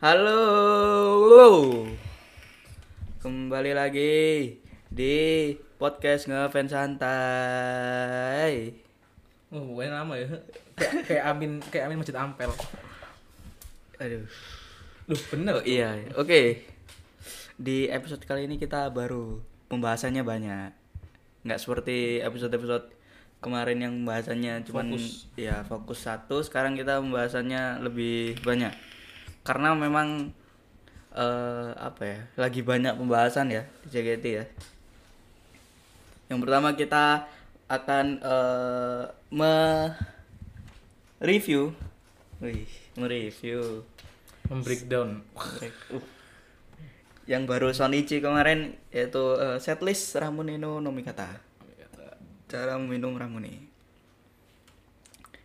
Halo. Kembali lagi di podcast ngefans santai. Oh, bukannya lama ya. Kayak, kayak Amin, kayak Amin Masjid Ampel. Aduh. Loh, bener. Oh, iya, iya. oke. Di episode kali ini kita baru pembahasannya banyak. Nggak seperti episode-episode kemarin yang pembahasannya cuman Fokus. ya fokus satu, sekarang kita pembahasannya lebih banyak. Karena memang eh apa ya? Lagi banyak pembahasan ya di JKT ya. Yang pertama kita akan eh mereview Wih, mereview Membreakdown. Uh. Yang baru Sonichi kemarin yaitu eh, setlist Ramonino Nomikata. Cara minum Ramune.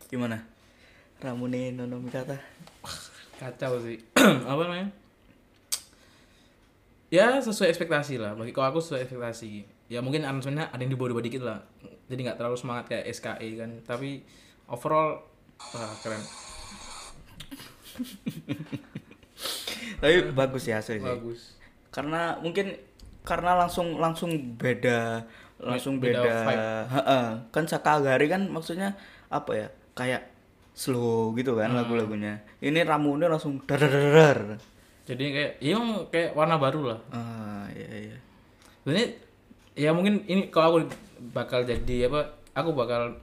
Gimana? Ramune no Nomikata. Kacau sih. Apa namanya? Ya, sesuai ekspektasi lah. Bagi kalau aku sesuai ekspektasi. Ya mungkin announcementnya ada yang diubah-ubah dikit lah. Jadi nggak terlalu semangat kayak SKE kan. Tapi overall wah, keren. Tapi bagus ya asli sih. Bagus. Karena mungkin karena langsung langsung beda langsung beda beda, Heeh. kan Sakagari kan maksudnya apa ya kayak slow gitu kan lagu-lagunya ini Ramune langsung dar dar dar, dar. Jadi kayak, ya emang kayak warna baru lah. ah iya iya Sebenarnya ya mungkin ini kalau aku bakal jadi apa? Aku bakal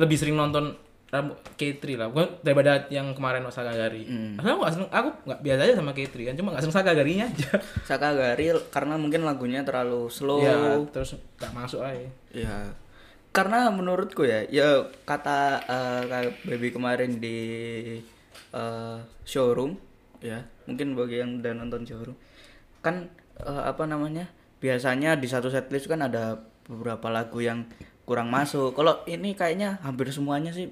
lebih sering nonton Ram- K3 lah. Bukan daripada yang kemarin Sakagari. Hmm. Karena aku gak seneng, aku nggak biasa aja sama K3 kan, cuma gak seneng Sakagarinya aja. Sakagari karena mungkin lagunya terlalu slow. Ya, Ya. terus gak masuk ya. aja. Karena menurutku ya, ya kata eh, kayak Baby kemarin di eh, showroom ya, mungkin bagi yang udah nonton showroom kan eh, apa namanya? Biasanya di satu setlist kan ada beberapa lagu yang kurang masuk. Kalau ini kayaknya hampir semuanya sih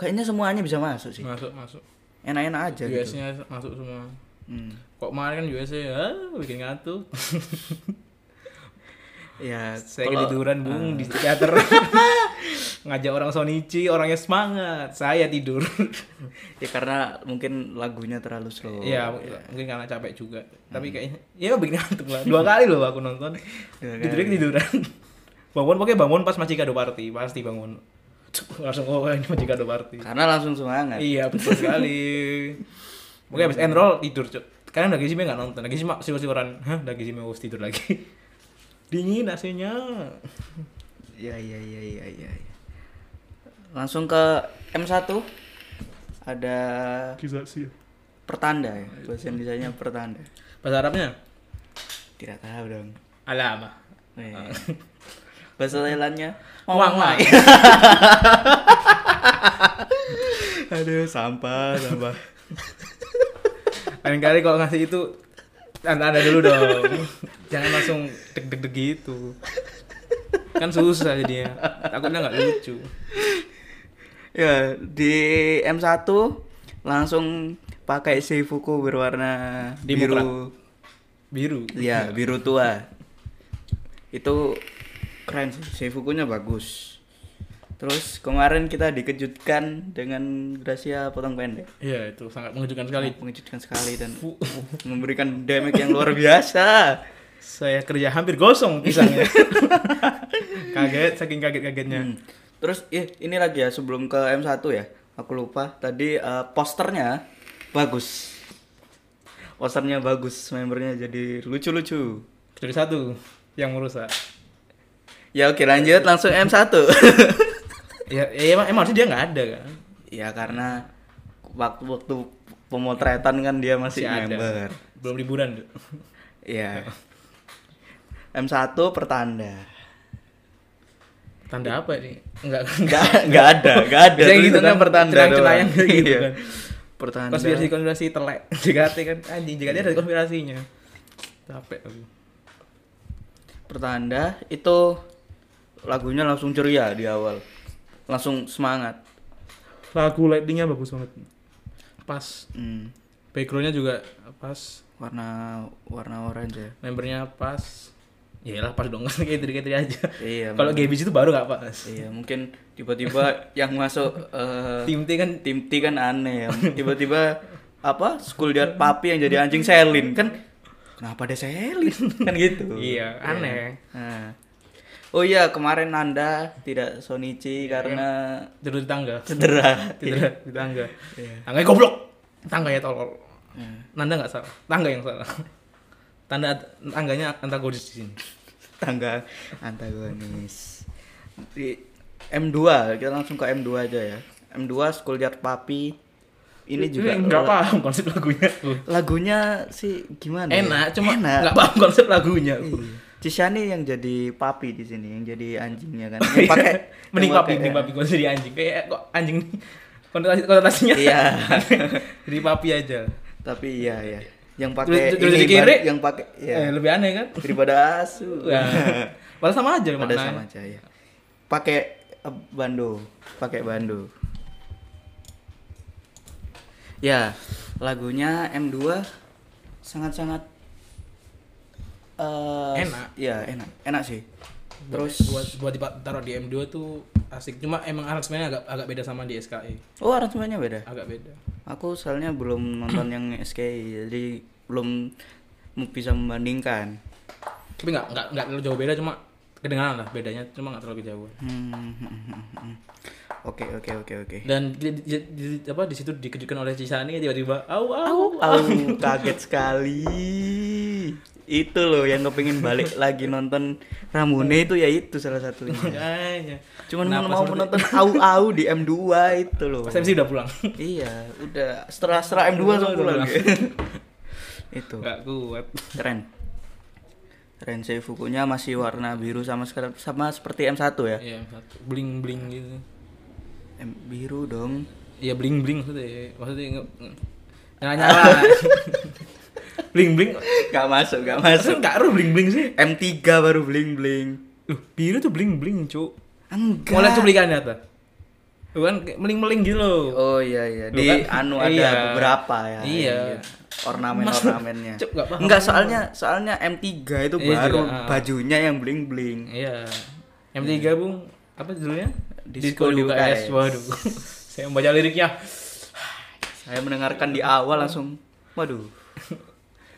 kayaknya semuanya bisa masuk sih. Masuk, masuk. Enak-enak aja gitu. US-nya masuk semua. Hmm. Kok kemarin kan USA ya, bikin ngantuk. Ya, Saya kalau- gitu. Ah. ketiduran bung di teater. Ngajak orang Sonichi, orangnya semangat. Saya tidur. ya karena mungkin lagunya terlalu slow. Iya, mungkin karena capek juga. Tapi kayaknya ya bikin ngantuk lah. Dua kali loh aku nonton. Dua Tidur tiduran. bangun pokoknya bangun pas Maci Kado Party, pasti bangun. Cuk, Langsung oh ini Maci Kado Party. Karena langsung semangat. Iya, betul sekali. Pokoknya habis enroll tidur, Cuk. Karena lagi sih nggak nonton, lagi sih siwar-siwaran. Hah, lagi sih harus tidur lagi. Dingin AC-nya. Iya iya iya iya iya. iya. Langsung ke M1 ada pertanda ya. Bahasa Indonesianya pertanda. Bahasa Arabnya? Tidak tahu dong. Alama. Eh. Bahasa Thailandnya Wang Wang. Aduh, sampah, sampah. Lain kali kalau ngasih itu tanda-tanda dulu dong. Jangan langsung deg-deg gitu. Kan susah jadinya. Takutnya nggak lucu. ya, di M1 langsung pakai seifuku berwarna Demokrat. biru. Biru. Iya, biru tua. Itu keren sih, Seifukunya bagus. Terus kemarin kita dikejutkan dengan Gracia potong pendek. Iya, itu sangat mengejutkan sekali. Mengejutkan sekali dan Fu- memberikan damage yang luar biasa. Saya kerja hampir gosong pisangnya. Kaget, saking kaget-kagetnya. Hmm. Terus ih, ini lagi ya sebelum ke M1 ya. Aku lupa tadi eh, posternya bagus. Posternya bagus, membernya jadi lucu-lucu. Kecuali satu yang merusak. Ya oke lanjut langsung M1. Ya, ya emang, emang harusnya dia nggak ada kan? Ya karena waktu-waktu pemotretan kan dia masih, Masih ada. member. Belum liburan. Dok. Iya. M1 pertanda. Tanda apa ini? Enggak, enggak. Enggak enggak ada, enggak ada. Biasanya gitu Tulisannya kan, cenayang-cenayang doang. gitu Iya. kan. Pertanda. konspirasi-konspirasi telek JKT kan anjing JKT ada konspirasinya capek aku Pertanda itu lagunya langsung ceria di awal. Langsung semangat. lagu lightingnya bagus banget pas Hmm. backgroundnya juga pas Warna warna orange ya. membernya pas ya lah pas dong kayak tiri tiri aja Iya. kalau mungkin- GBG itu baru gak pas Iya, mungkin tiba-tiba yang masuk eh, tim T kan tim T kan aneh ya. Tiba-tiba apa school lihat papi yang jadi anjing Selin kan kenapa ada Selin kan gitu Iya, aneh. Nah. oh iya kemarin Nanda tidak Sonichi Iya. karena Tidur di tangga. cedera Iya. Tidur di tangga. Tangga goblok. Tangganya tolol. Nanda nggak salah. Tangga yang salah. Tanda tangganya antagonis di sini. tangga antagonis di M2 kita langsung ke M2 aja ya M2 school lihat papi ini juga nggak paham konsep lagunya. lagunya sih gimana ya? Enak, cuma Enak. Iya. nggak paham konsep lagunya. Cisyani yang jadi papi di sini, yang jadi anjingnya kan. Yang pakai Iya. Oh mending yang pakai- papi, ya. mending papi gue jadi anjing. Kayak kok anjing nih konotasi konotasinya. Iya. jadi papi aja. Tapi iya ya. Yang Terus- pakai terus ini, di kiri? bar- yang pakai ya. Eh, lebih aneh kan? Daripada asu. Ya. Padahal sama aja Pada maknanya. sama aja ya. Pakai eh, bando, pakai bando. Ya, lagunya M2 sangat-sangat eh, Enak. Ya, enak. Enak sih. Terus Terus buat buat ditaruh di M2 tuh asik. Cuma emang aransemennya agak agak beda sama di SKE. Oh, aransemennya beda. Agak beda. Aku soalnya belum nonton yang SKI, jadi belum m- bisa membandingkan. Tapi nggak nggak nggak terlalu jauh beda cuma kedengaran lah bedanya cuma nggak terlalu jauh. Hmm, hmm, hmm, hmm. Oke, oke, oke, oke. Dan di, di, di- di- apa di situ dikejutkan oleh Cisani tiba-tiba au au. Aku kaget sekali. Itu loh yang kepingin balik lagi nonton Ramune itu ya itu salah satunya. Makanya. Cuman Kenapa mau seperti- menonton au-au di M2 itu loh. Pas MC udah pulang. Iya, udah setelah-setelah M2 langsung Udah pulang. pulang. itu. Nggak kuat. Keren. Rensei Fukunya masih warna biru sama sekali sama seperti M1 ya. Iya, satu bling bling gitu. M biru dong. Iya bling bling maksudnya. Maksudnya nge- nge- nyala nyala. bling bling. Gak masuk, gak masuk. Maksudnya nggak harus bling bling sih. M3 baru bling-bling. Loh, biru tuh bling bling cuk. Enggak. Mau lihat cuplikannya tuh. Tuh kan kayak meling-meling gitu loh. Oh iya iya, Lu di kan- anu ada iya. beberapa ya. Iya. Ornamen-ornamennya. Cuk, nggak paham. Enggak, soalnya soalnya M3 itu Iya baru juga, ah. bajunya yang bling-bling. Iya. M3 Bung, apa judulnya? Disco di UKS. Waduh. Saya membaca liriknya. Saya mendengarkan di awal langsung waduh.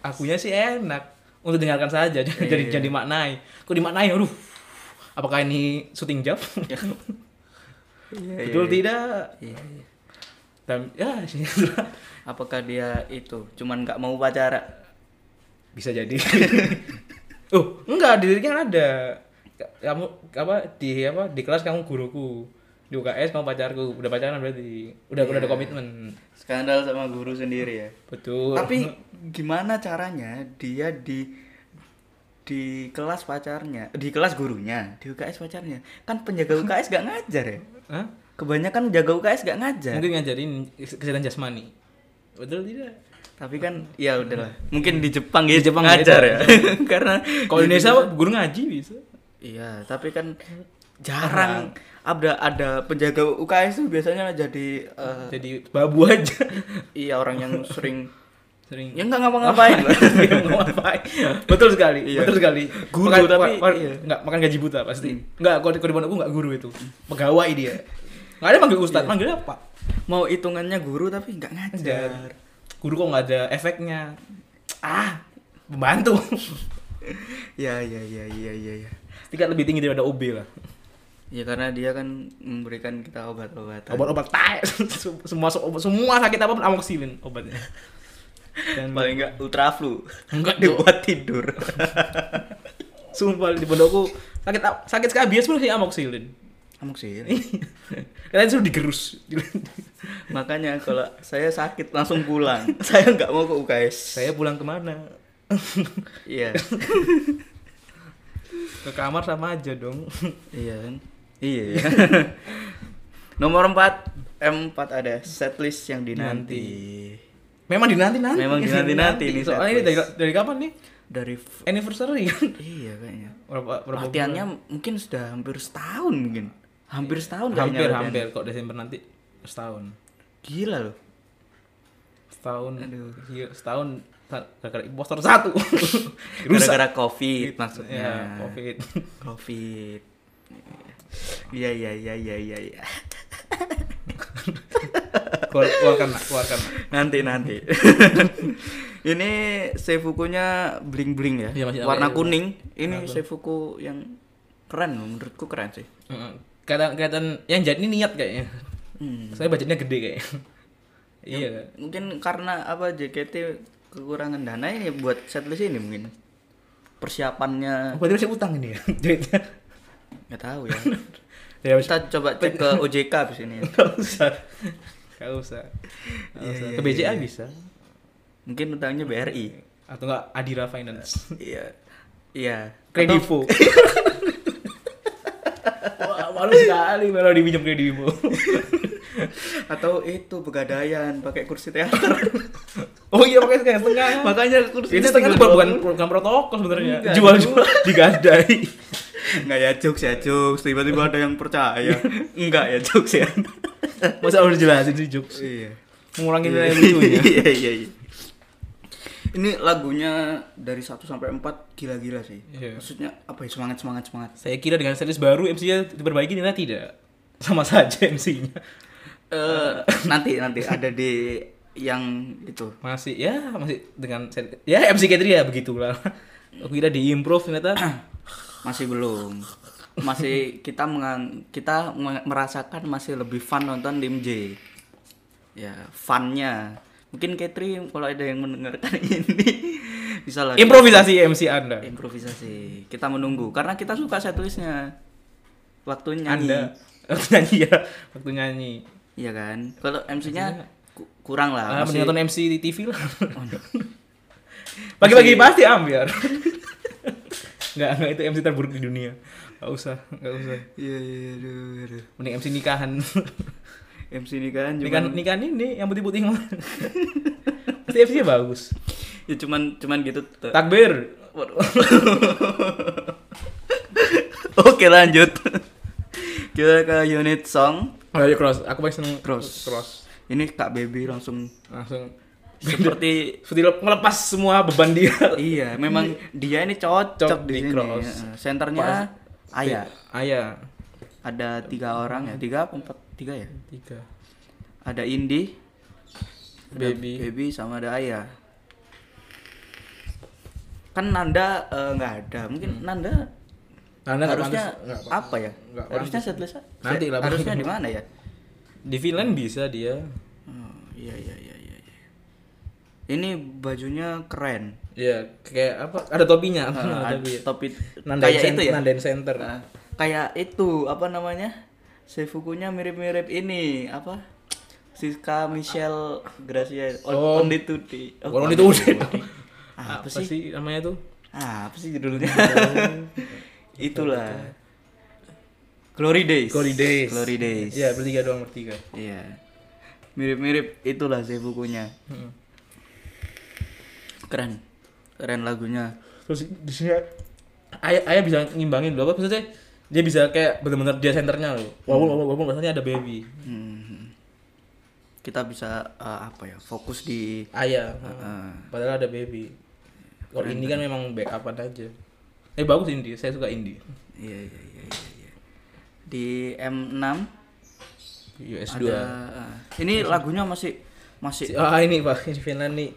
Akunya sih enak untuk dengarkan saja jadi jadi Iya. jadi dimaknai. Kok dimaknai? Aduh. Apakah ini syuting job? Iya, iya, Betul tidak? iya, iya. Dan ya sih. Apakah dia itu cuman nggak mau pacaran? bisa jadi. oh, enggak di liriknya ada. Ka- Kamu apa di apa di kelas kamu guruku. Di UKS kamu pacarku. Udah pacaran berarti. Udah Iya. udah ada komitmen. Skandal sama guru sendiri ya. Betul. Tapi gimana caranya dia di di kelas pacarnya, di kelas gurunya, di UKS pacarnya. Kan penjaga UKS gak ngajar ya? Hah? Kebanyakan jaga UKS gak ngajar. Mungkin ngajarin kesehatan jasmani. Betul tidak? Tapi kan ya udahlah. Mungkin di Jepang gitu Jepang ngajar gitu. ya. Karena Kalau di Indonesia guru ngaji bisa. Iya, tapi kan jarang ada ada penjaga UKS tuh biasanya jadi eh, Jadi babu aja. iya orang yang sering Sering ya nggak ngapa-ngapain. Dia mau ngapain. Betul sekali. Iya. Betul sekali. Guru, Makan- tapi- makan- iya. Hmm. nggak makan gaji buta pasti. Enggak, kalau di kalau di pondokku enggak guru itu. Pegawai dia. Enggak ada manggil Iya. ustaz, manggil apa? Mau hitungannya guru tapi nggak ngajar. Guru kok nggak ada efeknya. Ah, membantu. Ya ya ya ya ya ya. Tingkat lebih tinggi daripada OB lah. Ya karena dia kan memberikan kita obat-obatan. Obat-obat tai. semua semua sakit apapun amoxilin obatnya. Dan Paling enggak ultraflu. Enggak, dibuat tidur. Sumpah di pondokku sakit sakit skabies pun sih amoxilin. Amoxil. Kalian Kan suruh digerus. Makanya kalau saya sakit langsung pulang. saya nggak mau ke UKS. Saya pulang kemana? Iya. Ke kamar sama aja dong. iya kan? Iya. ya. Nomor 4 M4 ada setlist yang dinanti. Memang dinanti nanti. Memang dinanti-nanti nih Soalnya ini dari, setlist. dari kapan nih? Dari f- Anniversary kan? Iya kayaknya. Berapa, berapa Latihannya mungkin sudah hampir setahun mungkin. Hampir setahun bulan? kayaknya hampir latihan. hampir kok Desember nanti setahun. Gila loh. Setahun. Aduh. Iya, setahun Sa- gara-gara impostor satu. Rusak. Gara-gara Covid maksudnya. Ya, Covid. Covid. Iya iya iya iya iya. iya. Keluar- keluarkan nak, keluarkan nak. nanti nanti ini seifukunya bling bling ya Iya, masih warna namanya- kuning ini seifuku yang keren loh, menurutku keren sih Heeh. kelihatan kelihatan yang jadi ini niat kayaknya Hmm. saya budgetnya gede kayaknya iya Kak. mungkin karena apa JKT kekurangan dana ini buat setlist ini mungkin persiapannya berarti masih utang ini ya duitnya nggak tahu ya ya masih kita coba cek ke OJK abis ini nggak usah nggak usah Nggak usah. ke BCA bisa mungkin utangnya BRI atau enggak Adira Finance iya iya Kredivo Wah, malu sekali kalau dipinjam Kredivo atau itu pegadaian pakai kursi teater oh iya pakai setengah setengah makanya kursi itu setengah itu bukan bukan protokol sebenarnya jual jual digadai Enggak ya jokes ya jokes Tiba-tiba ada yang percaya Enggak ya jokes ya masa harus jelasin sih jokes Iya mengurangi nilai lucunya Iya iya iya Ini lagunya dari 1 sampai 4 gila-gila sih Iya. Eh. Maksudnya apa ya semangat semangat semangat Saya kira dengan series baru MC-nya diperbaiki ternyata tidak. Sama saja MC-nya. Eh Nanti nanti ada di yang itu Masih ya masih dengan set- ya MC Katri ya begitulah. Aku kira diimprove ternyata Masih belum masih kita mengang, kita me- merasakan masih lebih fun nonton Lim J ya funnya mungkin Katri kalau ada yang mendengarkan ini bisa lah improvisasi MC Anda. improvisasi kita menunggu karena kita suka setlistnya waktu nyanyi Anda waktu nyanyi ya, waktu nyanyi. iya kan kalau MC-nya ku- kurang lah Ah, masih- mending nonton MC di TV lah. Pagi-pagi pasti ambiar. Enggak, enggak itu MC terburuk di dunia. Enggak usah, enggak usah. iya iya aduh, aduh. Mending MC nikahan. MC ini kan cuman Nikahan, nikahan ini yang putih-putih. Pasti MC-nya bagus. ya cuman cuman gitu tuh. Takbir. oke lanjut kita ke unit song Oh iya cross, aku paling seneng Cross. Cross. ini Kak Baby langsung Langsung seperti seperti lep- ngelepas semua beban dia. iya memang dia ini cocok Cocok di, di sini cross. Iya. Heeh. senternya Ayah Ayah. ada tiga orang ya tiga apa empat tiga ya Tiga. ada Indi ada Baby. Baby sama ada Ayah kan Nanda eh, nggak ada mungkin Hmm. Nanda Nanda nggak harusnya pantas- nggak pantas. apa ya Nggak harusnya pantas. setlist Nanti lah, harusnya Bang. di mana ya Di villain bisa dia. oh, iya iya iya iya iya. ini bajunya keren Ya, kayak apa? Ada topinya. Eh, Ada topi. tapi Nanda kayak Cen- itu ya Nandain Center. Eh, kayak itu apa namanya Seifukunya mirip-mirip ini apa Siska Michelle Gracia on, Oh. on the Tuesday. Oh, Walaupun itu udah. Ah, Apa sih namanya tuh? Ah, apa sih judulnya? Itulah. Glory Days. Glory Days. Glory Days. Iya, bertiga doang bertiga. Iya. Mirip-mirip itulah sih bukunya. Mm. Keren. Keren lagunya. terus di sini ayah ayah bisa ngimbangin loh apa maksudnya dia bisa kayak benar-benar dia senternya loh walaupun walaupun, walaupun bahasanya ada baby Hmm. Kita bisa eh, apa ya? Fokus di ayah padahal ada baby kalau ini kan memang backupan aja eh bagus indie saya suka indie iya iya iya iya. iya. Di M6 US 2 ada eh, ini lagunya masih masih ah ini pak ini Finland nih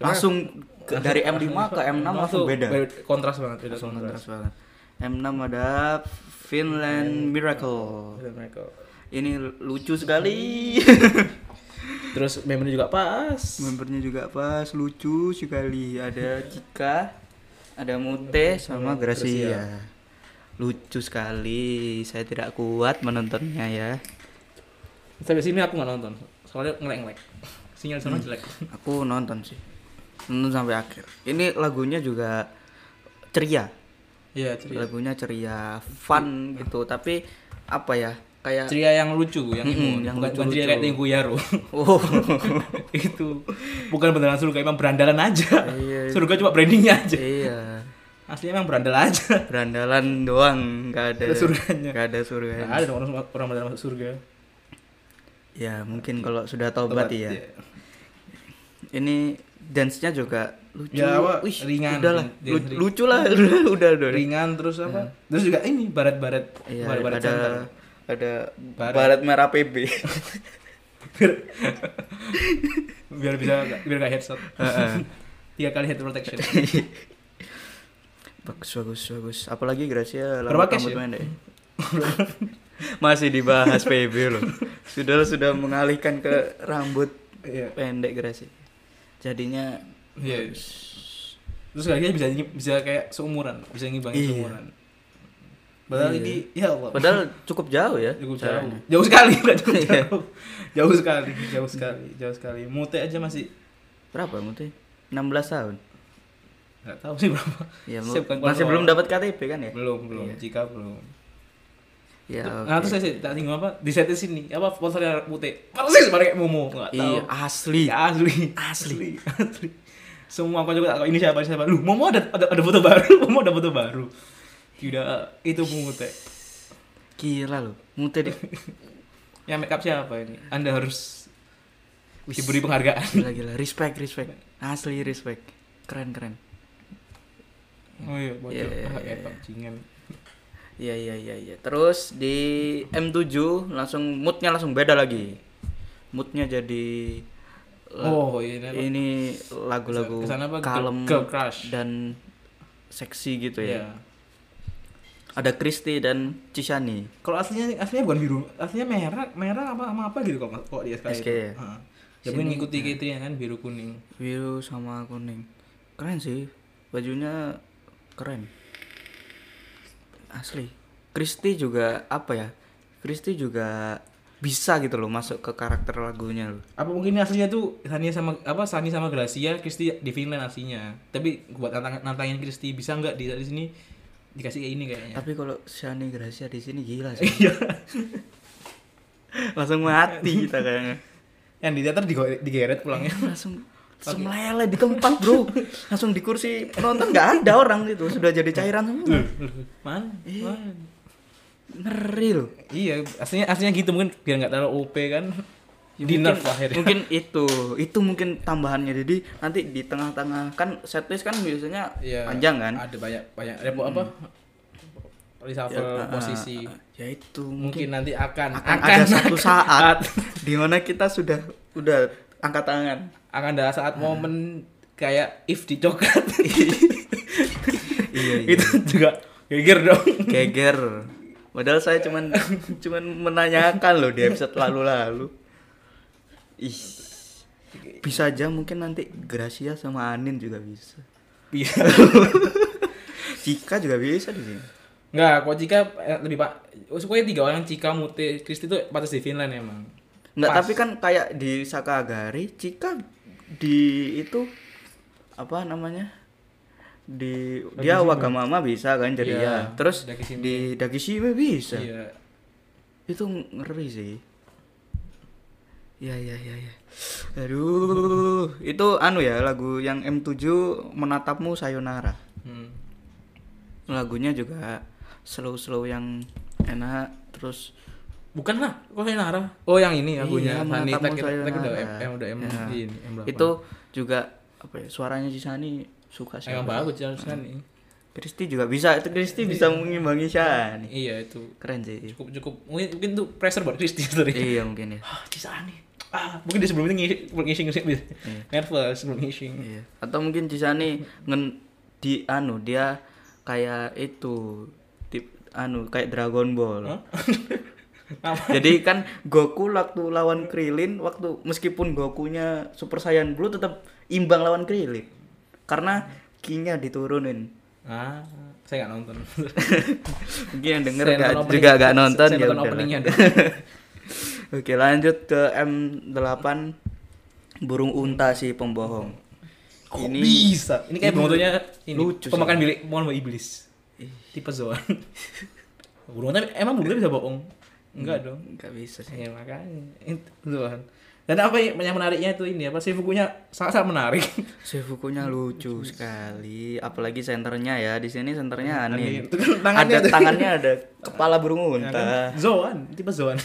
langsung ke- dari M5 ke M6 langsung, beda. kontras banget beda kontras Kontras banget. M6 ada Finland Miracle. Beda mereka. Ini lucu sekali. terus membernya juga pas Membernya juga pas lucu sekali. Ada Cika, ada Mute sama Gracia. Lucu sekali. Saya tidak kuat menontonnya ya. sampai sini aku nggak nonton soalnya ngelek-ngelek sinyal sana Hmm. jelek Aku nonton sih. Nonton sampai akhir. Ini lagunya juga ceria. iya ceria Lagunya ceria, fun gitu. Tapi apa ya? Kayak ceria yang lucu yang Mm-mm, emo Hmm, yang bukan, bukan ceria lucu-lucu. kayak Tengku Yaro Oh. itu bukan beneran surga emang berandalan aja Iya, iya. surga cuma brandingnya aja iya. aslinya emang berandal aja Berandalan doang, nggak ada, Nggak ada surganya. nggak ada surganya. Nggak ada dong orang orang beneran masuk surga Ya mungkin kalau sudah tobat Iya. ya. Ini dance-nya juga lucu. Ya, apa, Wih, ringan. Udah lah, Dance Lu- ringan. lucu lah, udah udah. udah. ringan terus apa Iya. terus juga ini barat barat Iya, barat barat ada ada Barat. barat merah PB. biar, biar bisa biar gak headshot tiga kali head protection bagus bagus bagus apalagi Gracia lalu Berapa case rambut ya? pendek masih dibahas PB loh sudah sudah mengalihkan ke rambut iya pendek Gracia jadinya Iya. bagus. terus kayaknya bisa bisa kayak seumuran bisa ngibangin Iya. seumuran padahal Iya. ini ya Allah padahal cukup jauh ya Iya. cukup jauh caranya. jauh sekali nggak cukup jauh jauh sekali jauh sekali jauh sekali mute aja masih berapa Muti 16 tahun nggak tahu sih berapa ya, Sip, kan, masih kalau- belum dapat KTP kan ya belum belum Iya. jika belum ya nah terus oke. saya sih, tak singgung apa di set sini apa sponsornya mute persis pakai momo nggak tahu iya asli Ya, asli Asli. asli semua aku juga tak tahu, ini siapa ini siapa lu momo ada ada, ada foto baru momo ada foto baru tidak itu mute gila loh Muti deh yang make up siapa ini anda harus Wis. diberi penghargaan gila gila respect respect asli respect keren keren oh iya bocor Iya, iya, iya, iya. Iya iya yeah, yeah, iya iya. Terus di M7 langsung moodnya langsung beda lagi. Moodnya jadi la- oh iya ini apa? ini lagu-lagu Kesana apa? Girl- kalem girl crush. dan seksi gitu Iya. ya. Ada Kristi dan Cishani. kalau aslinya aslinya bukan biru aslinya merah merah apa sama apa gitu kalau kalau dia sekarang SK ya? itu Heeh. ya mungkin ngikuti KT ya kan biru kuning Biru sama kuning. Keren sih. Bajunya keren. Asli. Kristi juga apa ya? Kristi juga bisa gitu loh masuk ke karakter lagunya loh. apa mungkin aslinya tuh Sania sama apa Sani sama Gracia Kristi di Finland aslinya tapi buat nantang, nantangin Kristi bisa nggak di, di sini dikasih kayak ini kayaknya Tapi kalau Shani Gracia di sini gila sih. iya Langsung mati kita kayaknya. yang di teater digo- digeret pulangnya Langsung langsung meleleh di tempat, Bro. Langsung di kursi penonton nggak ada orang gitu, sudah jadi cairan semua. mana Iya. mana Ngeri loh. iya aslinya aslinya gitu mungkin biar nggak terlalu OP kan Ya, di mungkin- nerf akhirnya Mungkin itu, itu mungkin tambahannya. Jadi nanti di tengah-tengah kan setlist kan biasanya Iya, panjang kan. ada banyak banyak ada apa reshuffle Ya, posisi ah, ah, ya itu mungkin nanti akan akan, ada satu saat akan- di mana kita sudah udah angkat tangan. akan ada saat momen kayak if dicoklat Iya, itu juga geger dong geger padahal saya cuman cuman menanyakan loh di episode lalu-lalu ih bisa aja mungkin nanti Gracia sama Anin juga bisa Iya. Cika juga bisa di sini nggak kok Cika eh, lebih pak pokoknya tiga orang Cika Mute Kristi itu pantas di Finland emang nggak Pas. tapi kan kayak di Sakagari Cika di itu apa namanya di dia Wagamama bisa kan jadi Iya, ya terus Dakishime. di Dakishime bisa iya itu ngeri sih ya ya ya ya aduh itu anu ya lagu yang M7 menatapmu sayonara hmm. lagunya juga slow slow yang enak terus bukan lah kok saya Nara oh yang ini Iya, lagunya Sani menatapmu tak tak udah sayonara. M em- udah M Ya. ini M delapan. itu juga apa ya suaranya si Sani suka sih emang bagus jalan Sani Kristi juga bisa itu Kristi bisa mengimbangi Sani iya itu keren sih cukup cukup mungkin mungkin tuh pressure buat Kristi sebenarnya iya mungkin ya ah Cisani ah mungkin dia sebelumnya ngisi ngising ngising gitu. Iya. nervous sebelum ngising Iya. Atau mungkin Cisani ngen di anu dia kayak itu tip anu kayak Dragon Ball. Hah? Apa? Jadi kan Goku waktu lawan Krillin waktu meskipun Gokunya Super Saiyan Blue tetap imbang lawan Krillin. Karena kinya diturunin. ah saya nggak nonton Mungkin yang denger Saya nggak- nonton juga opening- gak nonton ya saya nonton udahlah. openingnya dong. Oke, lanjut ke M8 burung unta si pembohong. Kok Ini- bisa? Ini kayak ini bentuknya ini lucu sih. pemakan bilik mohon iblis. Tipe Zoan. burung tapi emang burungnya bisa bohong? Enggak dong. Gak bisa sih. Hmm. Ya makanya Itu Zoan. Dan apa yang yang menariknya itu ini apa sih bukunya sangat sangat menarik. Seifukunya lucu sekali, apalagi senternya ya. Di sini senternya aneh. Anin. Itu kan tangannya ada tuh. tangannya ada kepala burung Ya kan? unta. Zoan, tipe Zoan.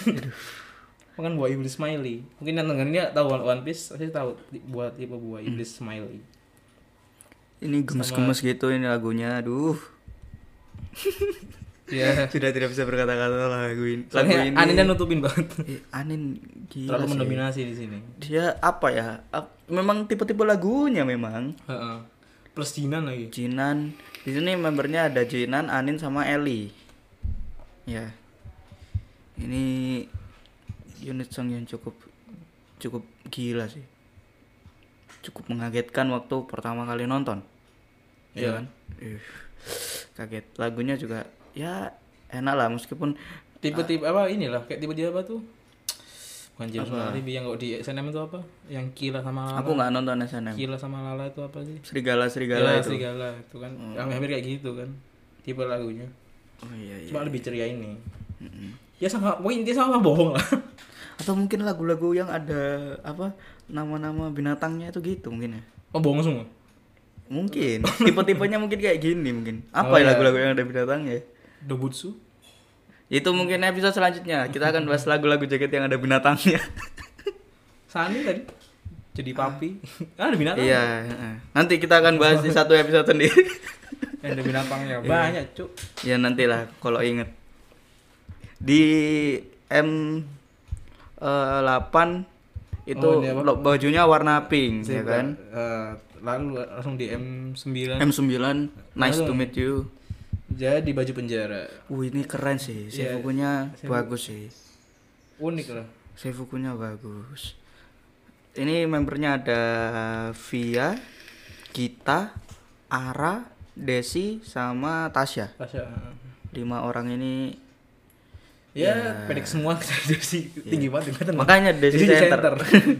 Makan buah iblis smiley. Mungkin yang dengerinnya tahu One One Piece, pasti tahu ti- buat tipe buah iblis smiley. Ini gemes-gemes gitu ini lagunya. Aduh. Iya. sudah tidak bisa berkata-kata lagu ini. Lagu Soalnya ini Aninnya nutupin banget. Eh, Anin gila Terlalu sih. mendominasi di sini. Dia apa ya? ap- Memang tipe-tipe lagunya memang. Heeh. Plus Jinan lagi. Jinan di sini membernya ada Jinan, Anin sama Eli. Ya. Ini unit song yang cukup cukup gila sih. Cukup mengagetkan waktu pertama kali nonton. Iya Iya. kan? Ih, kaget. Lagunya juga ya enak lah meskipun Tipe-tipe apa inilah kayak tipe-tipe apa tuh? Bukan James Alibi yang kok di SNM itu apa? Yang Kila sama Lala. aku nggak nonton SNM. Kila sama Lala itu apa sih? Serigala-serigala Ya, itu. Hmm. Serigala itu kan. Hampir kayak gitu kan. Tipe lagunya. Oh iya iya. Cuma lebih ceria ini. Ya sama pokoknya intinya sama bohong lah. Atau mungkin lagu-lagu yang ada apa nama-nama binatangnya itu gitu mungkin ya. Oh bohong semua. Mungkin. Tipe-tipenya mungkin kayak gini mungkin. Apa Oh, ya iya. lagu-lagu yang ada binatangnya? Dobutsu. Itu mungkin episode selanjutnya. Kita akan bahas lagu-lagu jaket yang ada binatangnya. Sani tadi jadi papi. Ah, ada binatang. iya. heeh. Nanti kita akan bahas di satu episode sendiri. Yang Eh, ada Iya. binatangnya banyak, Cuk. ya nantilah kalau inget. Di M 8 itu Oh, ini apa? lo- bajunya warna pink ya kan. Eh, lalu langsung di M9. M9 nice to meet you. Jadi baju penjara. Wih ini keren sih. Iya, Seifukunya bagus sih. Unik lah. Seifukunya bagus. Ini membernya ada Via, Gita, Ara, Desi sama Tasya. Pasha. eh. Hmm. Lima orang ini Ya, pendek semua dari si tinggi banget tinggi banget. Ya. makanya Desi, Desi Center. Center.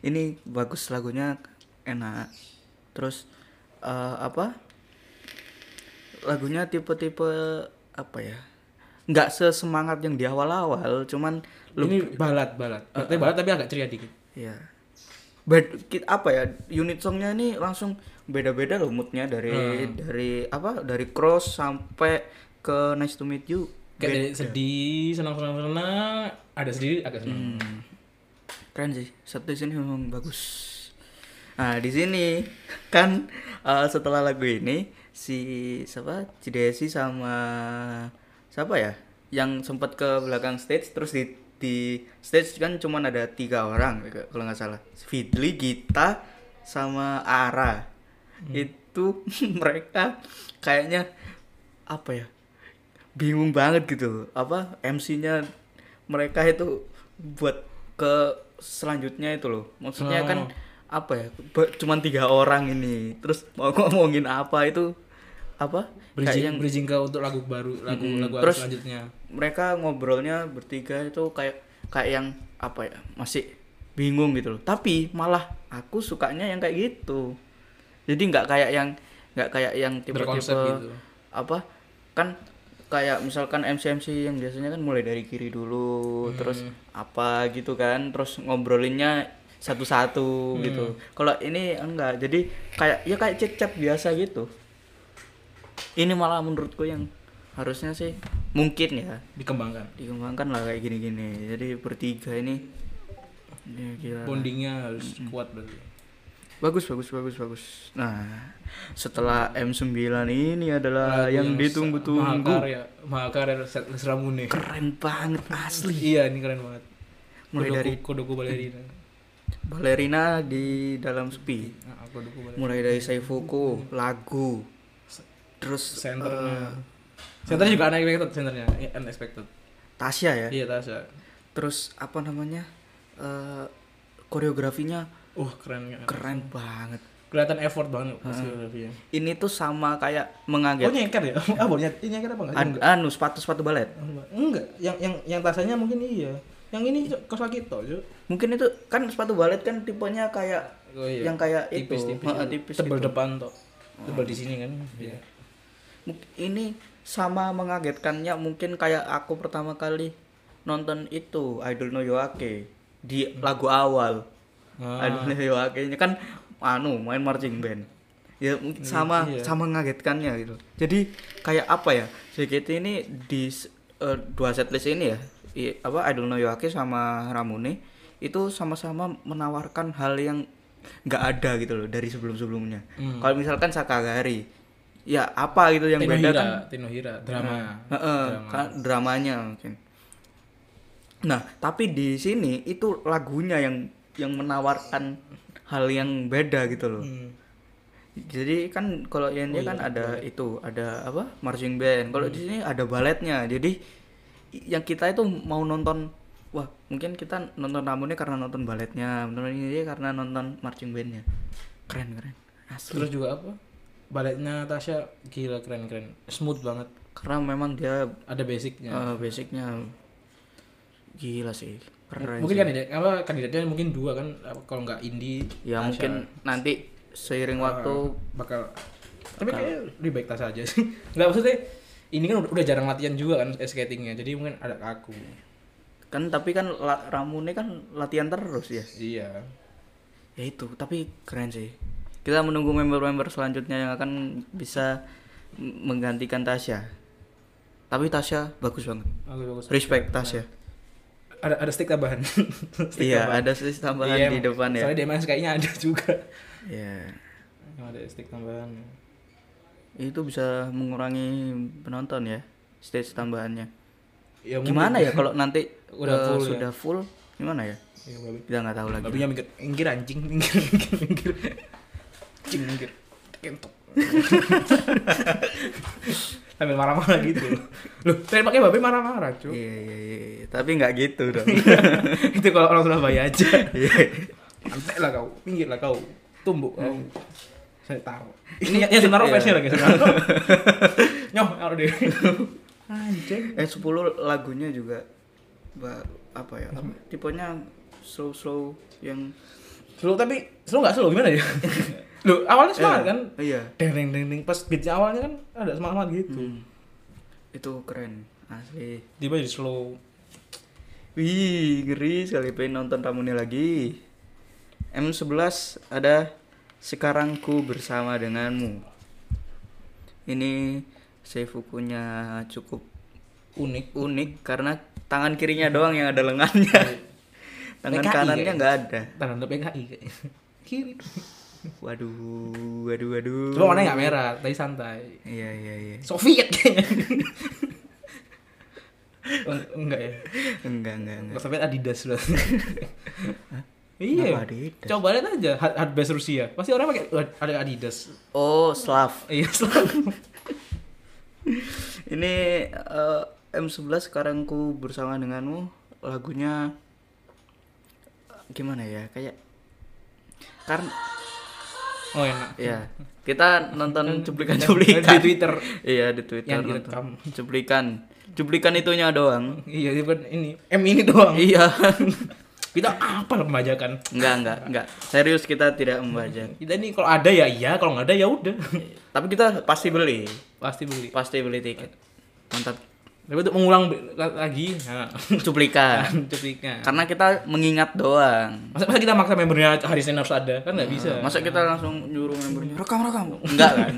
ini bagus lagunya enak. Terus eh, apa? Lagunya tipe-tipe apa ya? Nggak sesemangat yang di awal-awal, cuman Ini balat, balat. Ah, Tapi balat tapi agak ceria dikit. Iya. Bed, ki- apa ya unit songnya ini langsung beda-beda loh moodnya dari dari apa dari cross sampai ke nice to meet you. Kayak dari sedih, senang senang senang, ada sedih, agak senang. Hmm. Keren sih. Satu sini memang bagus. Nah, di sini kan eh, setelah lagu ini si siapa? Cidesi sama siapa ya? Yang sempat ke belakang stage terus di di stage kan cuman ada tiga orang kalau nggak salah. Fidli, Gita, sama Ara. Itu mereka kayaknya apa ya? Bingung banget gitu. Apa MC-nya mereka itu buat ke selanjutnya itu loh. Maksudnya kan apa ya ba- cuman tiga orang ini terus mau ngomongin apa itu apa Bridging, kayak yang Hmm. bridging ke untuk lagu baru, lagu lagu Terus- selanjutnya. mereka ngobrolnya bertiga itu kayak kayak yang apa ya masih bingung gitu loh tapi malah aku sukanya yang kayak gitu jadi nggak kayak yang nggak kayak yang tipe-tipe Berkonsep gitu. apa kan kayak misalkan MC MC yang biasanya kan mulai dari kiri Hmm. dulu terus apa gitu kan terus ngobrolinnya satu-satu Hmm. gitu kalau ini enggak jadi kayak ya kayak cecep biasa gitu ini malah menurutku yang harusnya sih mungkin ya Dikembangkan. dikembangkan lah kayak gini-gini jadi bertiga ini ya, gila. Bondingnya harus Hmm. kuat berarti. bagus bagus bagus bagus nah setelah M9 ini adalah Lagu Ah, yang ditunggu-tunggu Mahakarya, Mahakarya Setles Ramune. keren banget asli Iya, ini keren banget. Mulai Kodoku- dari- Kodoku Balerina. balerina di dalam sepi Nah, Kodoku Balerina. mulai dari Seifuku lagu terus eh, Centernya. Centernya juga unexpected centernya. Iya, Unexpected. Tasya ya Iya, Tasha. terus apa namanya eh, koreografinya Uh, keren kan. keren banget Kelihatan effort banget Hmm. pas koreografinya. ini tuh sama kayak Oh, mengaget nyengker ya? Ah, boleh nyet- ini nyengker apa enggak? Ad- anu sepatu sepatu balet Enggak, yang yang yang tasanya mungkin iya. Yang ini kos lagi toh, Cuk. mungkin itu kan sepatu balet kan tipenya kayak Oh, iya. yang kayak tipis, itu tipis, Ha, gitu. tipis tebal gitu. depan toh. Tebal di sini kan. Iya. Mung- ini sama mengagetkannya mungkin kayak aku pertama kali nonton itu Idol no Yoake di lagu awal Ah. Idol no Yoake nya kan anu main marching band ya mungkin sama iya. sama mengagetkannya gitu jadi kayak apa ya JKT ini di s- eh, dua setlist ini ya i- apa Idol no Yoake sama Ramune itu sama-sama Hmm. menawarkan hal yang nggak ada gitu loh dari sebelum-sebelumnya kalau misalkan Sakagari ya apa gitu yang beda Tinohira, kan Tinohira, drama. Heeh, kan dramanya mungkin. Nah, tapi di sini itu lagunya yang yang menawarkan hal yang beda gitu loh. Hmm. Jadi kan kalau yang Oh dia kan iya, ada itu, ada apa? marching band. Kalau di Hmm. sini ada baletnya. Jadi i- yang kita itu mau nonton wah, mungkin kita nonton Ramune karena nonton baletnya, nonton ini dia karena nonton marching bandnya. Keren, keren. Asli. Terus juga apa? Baletnya Tasya gila keren-keren. Smooth banget. Karena memang dia Ada basicnya. eh, basicnya gila sih. Keren. mungkin kandidat apa kandidatnya mungkin dua kan Apa, kalau nggak indie ya Tasya mungkin nanti seiring Nah. waktu bakal tapi kayaknya lebih baik Tasya aja sih nggak maksudnya ini kan udah udah jarang latihan juga kan ice skatingnya jadi mungkin ada aku kan tapi kan la- Ramune kan latihan terus ya iya ya itu tapi keren sih kita menunggu member-member selanjutnya yang akan bisa m- menggantikan Tasya tapi Tasya bagus banget aku bagus respect Tasya Nah, ada ada stick tambahan Stick iya tambahan. ada sis tambahan Iya, di depan ya soalnya DMS kayaknya ada juga Iya. yang ada stick tambahan itu bisa mengurangi penonton ya stage tambahannya ya mungkin- gimana ya kalau nanti Udah eh, full ya. sudah full gimana ya ya, babi. kita nggak tahu lagi babinya minggir minggir anjing minggir minggir minggir anjing minggir kentok sambil marah-marah gitu loh tembaknya babi marah-marah cuy Iya, iya, iya, iya. tapi nggak gitu dong. itu Gitu kalau orang Surabaya aja Iya. pantai lah kau pinggir lah kau tumbuk kau saya tahu Ini- Hmm. ini yang sebenarnya iya. fansnya lagi sebenarnya nyoh kalau dia anjing eh 10 lagunya juga ba- apa ya? Hmm. Apa? Tipenya slow slow yang slow tapi slow nggak slow gimana ya lo awalnya semangat Eh, kan Iya. deng deng deng deng pas beatnya awalnya kan ada semangat gitu Hmm. Itu keren asli. tiba jadi slow Wih, ngeri sekali pengen nonton Ramune lagi. M11 ada sekarang ku bersama denganmu. Ini seifukunya cukup unik unik karena tangan kirinya doang yang ada Iya. lengannya. tangan PKI kanannya kayaknya. nggak ada. tanda PKI kayaknya kiri Waduh, waduh, waduh. cuma warnanya nggak merah tapi santai Iya, iya, iya. Soviet kayaknya Eng- enggak ya Enggak, enggak, enggak. Kalau Soviet Adidas loh. Kenapa iya. Adidas? Coba lihat aja hard, hard base Rusia. Pasti orang pakai hard- ada Adidas. Oh, Slav. Iya selalu. Ini eh, M11 sekarang ku bersama denganmu lagunya gimana ya? Kayak karena Oh enak. ya kita nonton Kan Di cuplikan-cuplikan Twitter. Iya di Twitter Yang direkam. nonton. cuplikan cuplikan itunya doang Iya dia kan ini M ini doang. iya Kita apa lah pembajakan? enggak enggak enggak serius kita tidak membaca Kita ini kalau ada ya iya, kalau nggak ada ya udah. tapi kita pasti beli Pasti beli. pasti beli tiket mantap Tapi untuk mengulang be- la- lagi, nah, cuplikan cuplikan. karena kita mengingat doang Masa, masa kita maksa membernya hari Senin harus ada? Kan nggak bisa. Ah, masa kita langsung nyuruh membernya rekam rekam enggak kan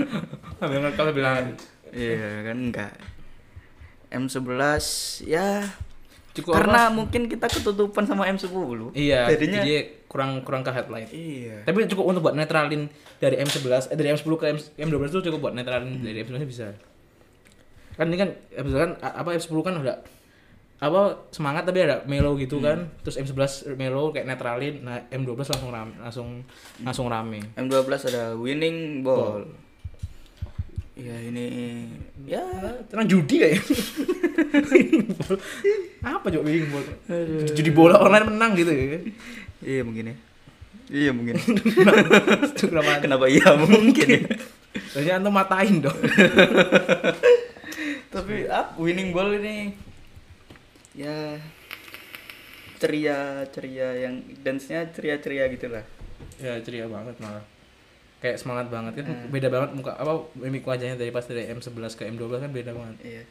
Sambil ngerekam sambil nari. iya kan enggak M11 ya Cukup karena mungkin kita ketutupan sama M10 Iya, jadinya jadi kurang kurang ke headlight. iya Tapi cukup untuk buat netralin dari M11, eh, dari M10 ke M, 12 itu cukup buat netralin dari M11 bisa. Kan ini kan M11 kan a- apa M10 kan udah apa semangat tapi ada melo gitu kan. Terus M11 melo kayak netralin, nah M12 langsung rame, langsung langsung rame. M12 ada winning ball ya ini ya Tenang judi kayak. apa coba bidding ball? Judi bola online menang gitu ya. iya mungkin ya iya mungkin Kenapa? kenapa iya mungkin ya Terusnya antum matain dong. Tapi up winning ball ini ya ceria-ceria yang dance-nya ceria-ceria gitu lah. ya ceria banget malah kayak semangat banget kan beda banget muka apa mimik wajahnya dari pas dari M11 ke M12 kan beda banget Iya.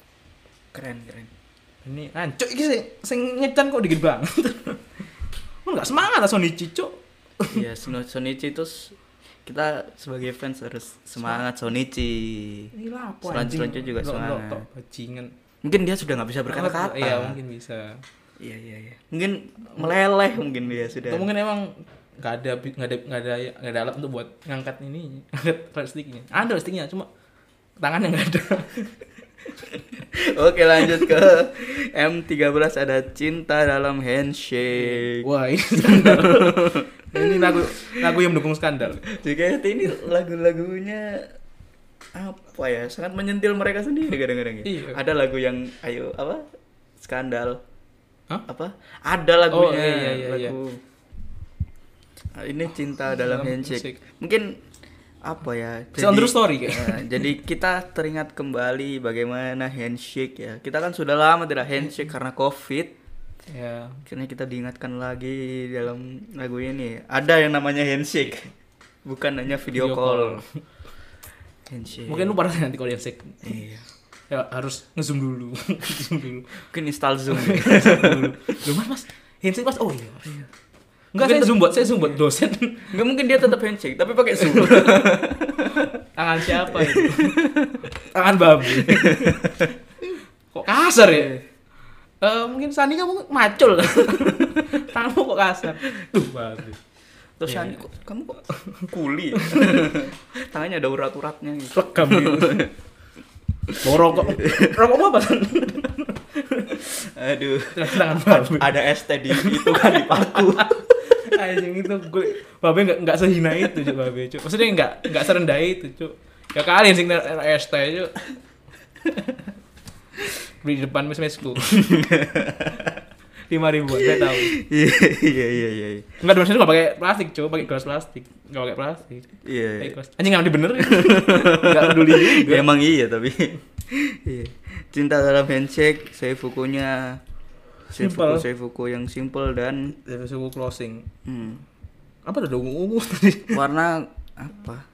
Keren, keren. ini ancuk ini sing, sing nyecan kok dikit banget lu nggak semangat lah Sony Cicu Iya, Son- Sonichi itu s- kita sebagai fans harus semangat Sonichi. ini lapo Selan- selanjutnya juga semangat. bajingan Mungkin dia sudah nggak bisa berkata-kata. iya mungkin bisa Iya, iya, iya. Mungkin meleleh mungkin dia sudah. atau mungkin emang nggak ada bi- nggak ada nggak ada nggak ada alat untuk buat ngangkat ini ngangkat plastiknya ada plastiknya cuma tangannya nggak ada Oke lanjut ke M13 ada cinta dalam handshake. wah ini skandal ini lagu lagu yang mendukung skandal JKT ini lagu-lagunya apa ya sangat menyentil mereka sendiri kadang-kadang ya. Iya. Ada lagu yang ayo apa skandal Hah? apa ada lagunya Oh, iya, iya, iya, lagu Nah, ini cinta dalam dalam handshake handshake. mungkin apa ya It's a true story, kayak. Nah, jadi kita teringat kembali bagaimana handshake ya kita kan sudah lama tidak handshake karena covid ya Akhirnya kita diingatkan lagi dalam lagu ini. Ada yang namanya handshake. Bukan hanya video, Video call. call. handshake. mungkin lu pernah nanti kalau di handshake iya. ya, harus ngezoom dulu ngezoom dulu Mungkin install Zoom. Loh, mas mas handshake mas oh iya enggak saya zoom buat saya zoom buat dosen Enggak mungkin dia tetap handshake, tapi pakai Zoom. tangan siapa itu tangan babi kok kasar ya Eh, mungkin Sandi kamu macul tanganmu kok kasar tuh babi Terus Shani, kok, kamu kok Iya, kuli? ya?" Tangannya ada urat-uratnya gitu. rekam gitu Bawa rokok rokokmu apa San? Aduh. tangan babi Ada ST di itu kan di paku. anjing itu gue babe nggak nggak sehina itu cuk babe cuk maksudnya nggak nggak serendah itu cuk ya kalian sih RST cuk beli di depan mes mesku lima ribuan saya tahu Iya iya iya iya. nggak di mesku nggak pakai plastik cuk pakai gelas plastik nggak pakai plastik Iya. Pakai gelas anjing ya? nggak dibenerin nggak peduli juga Ya, emang iya tapi Iya. cinta dalam handshake saya bukunya Simple. saya buku yang simple dan dari suku closing hmm, apa udah ungu ungu tadi warna apa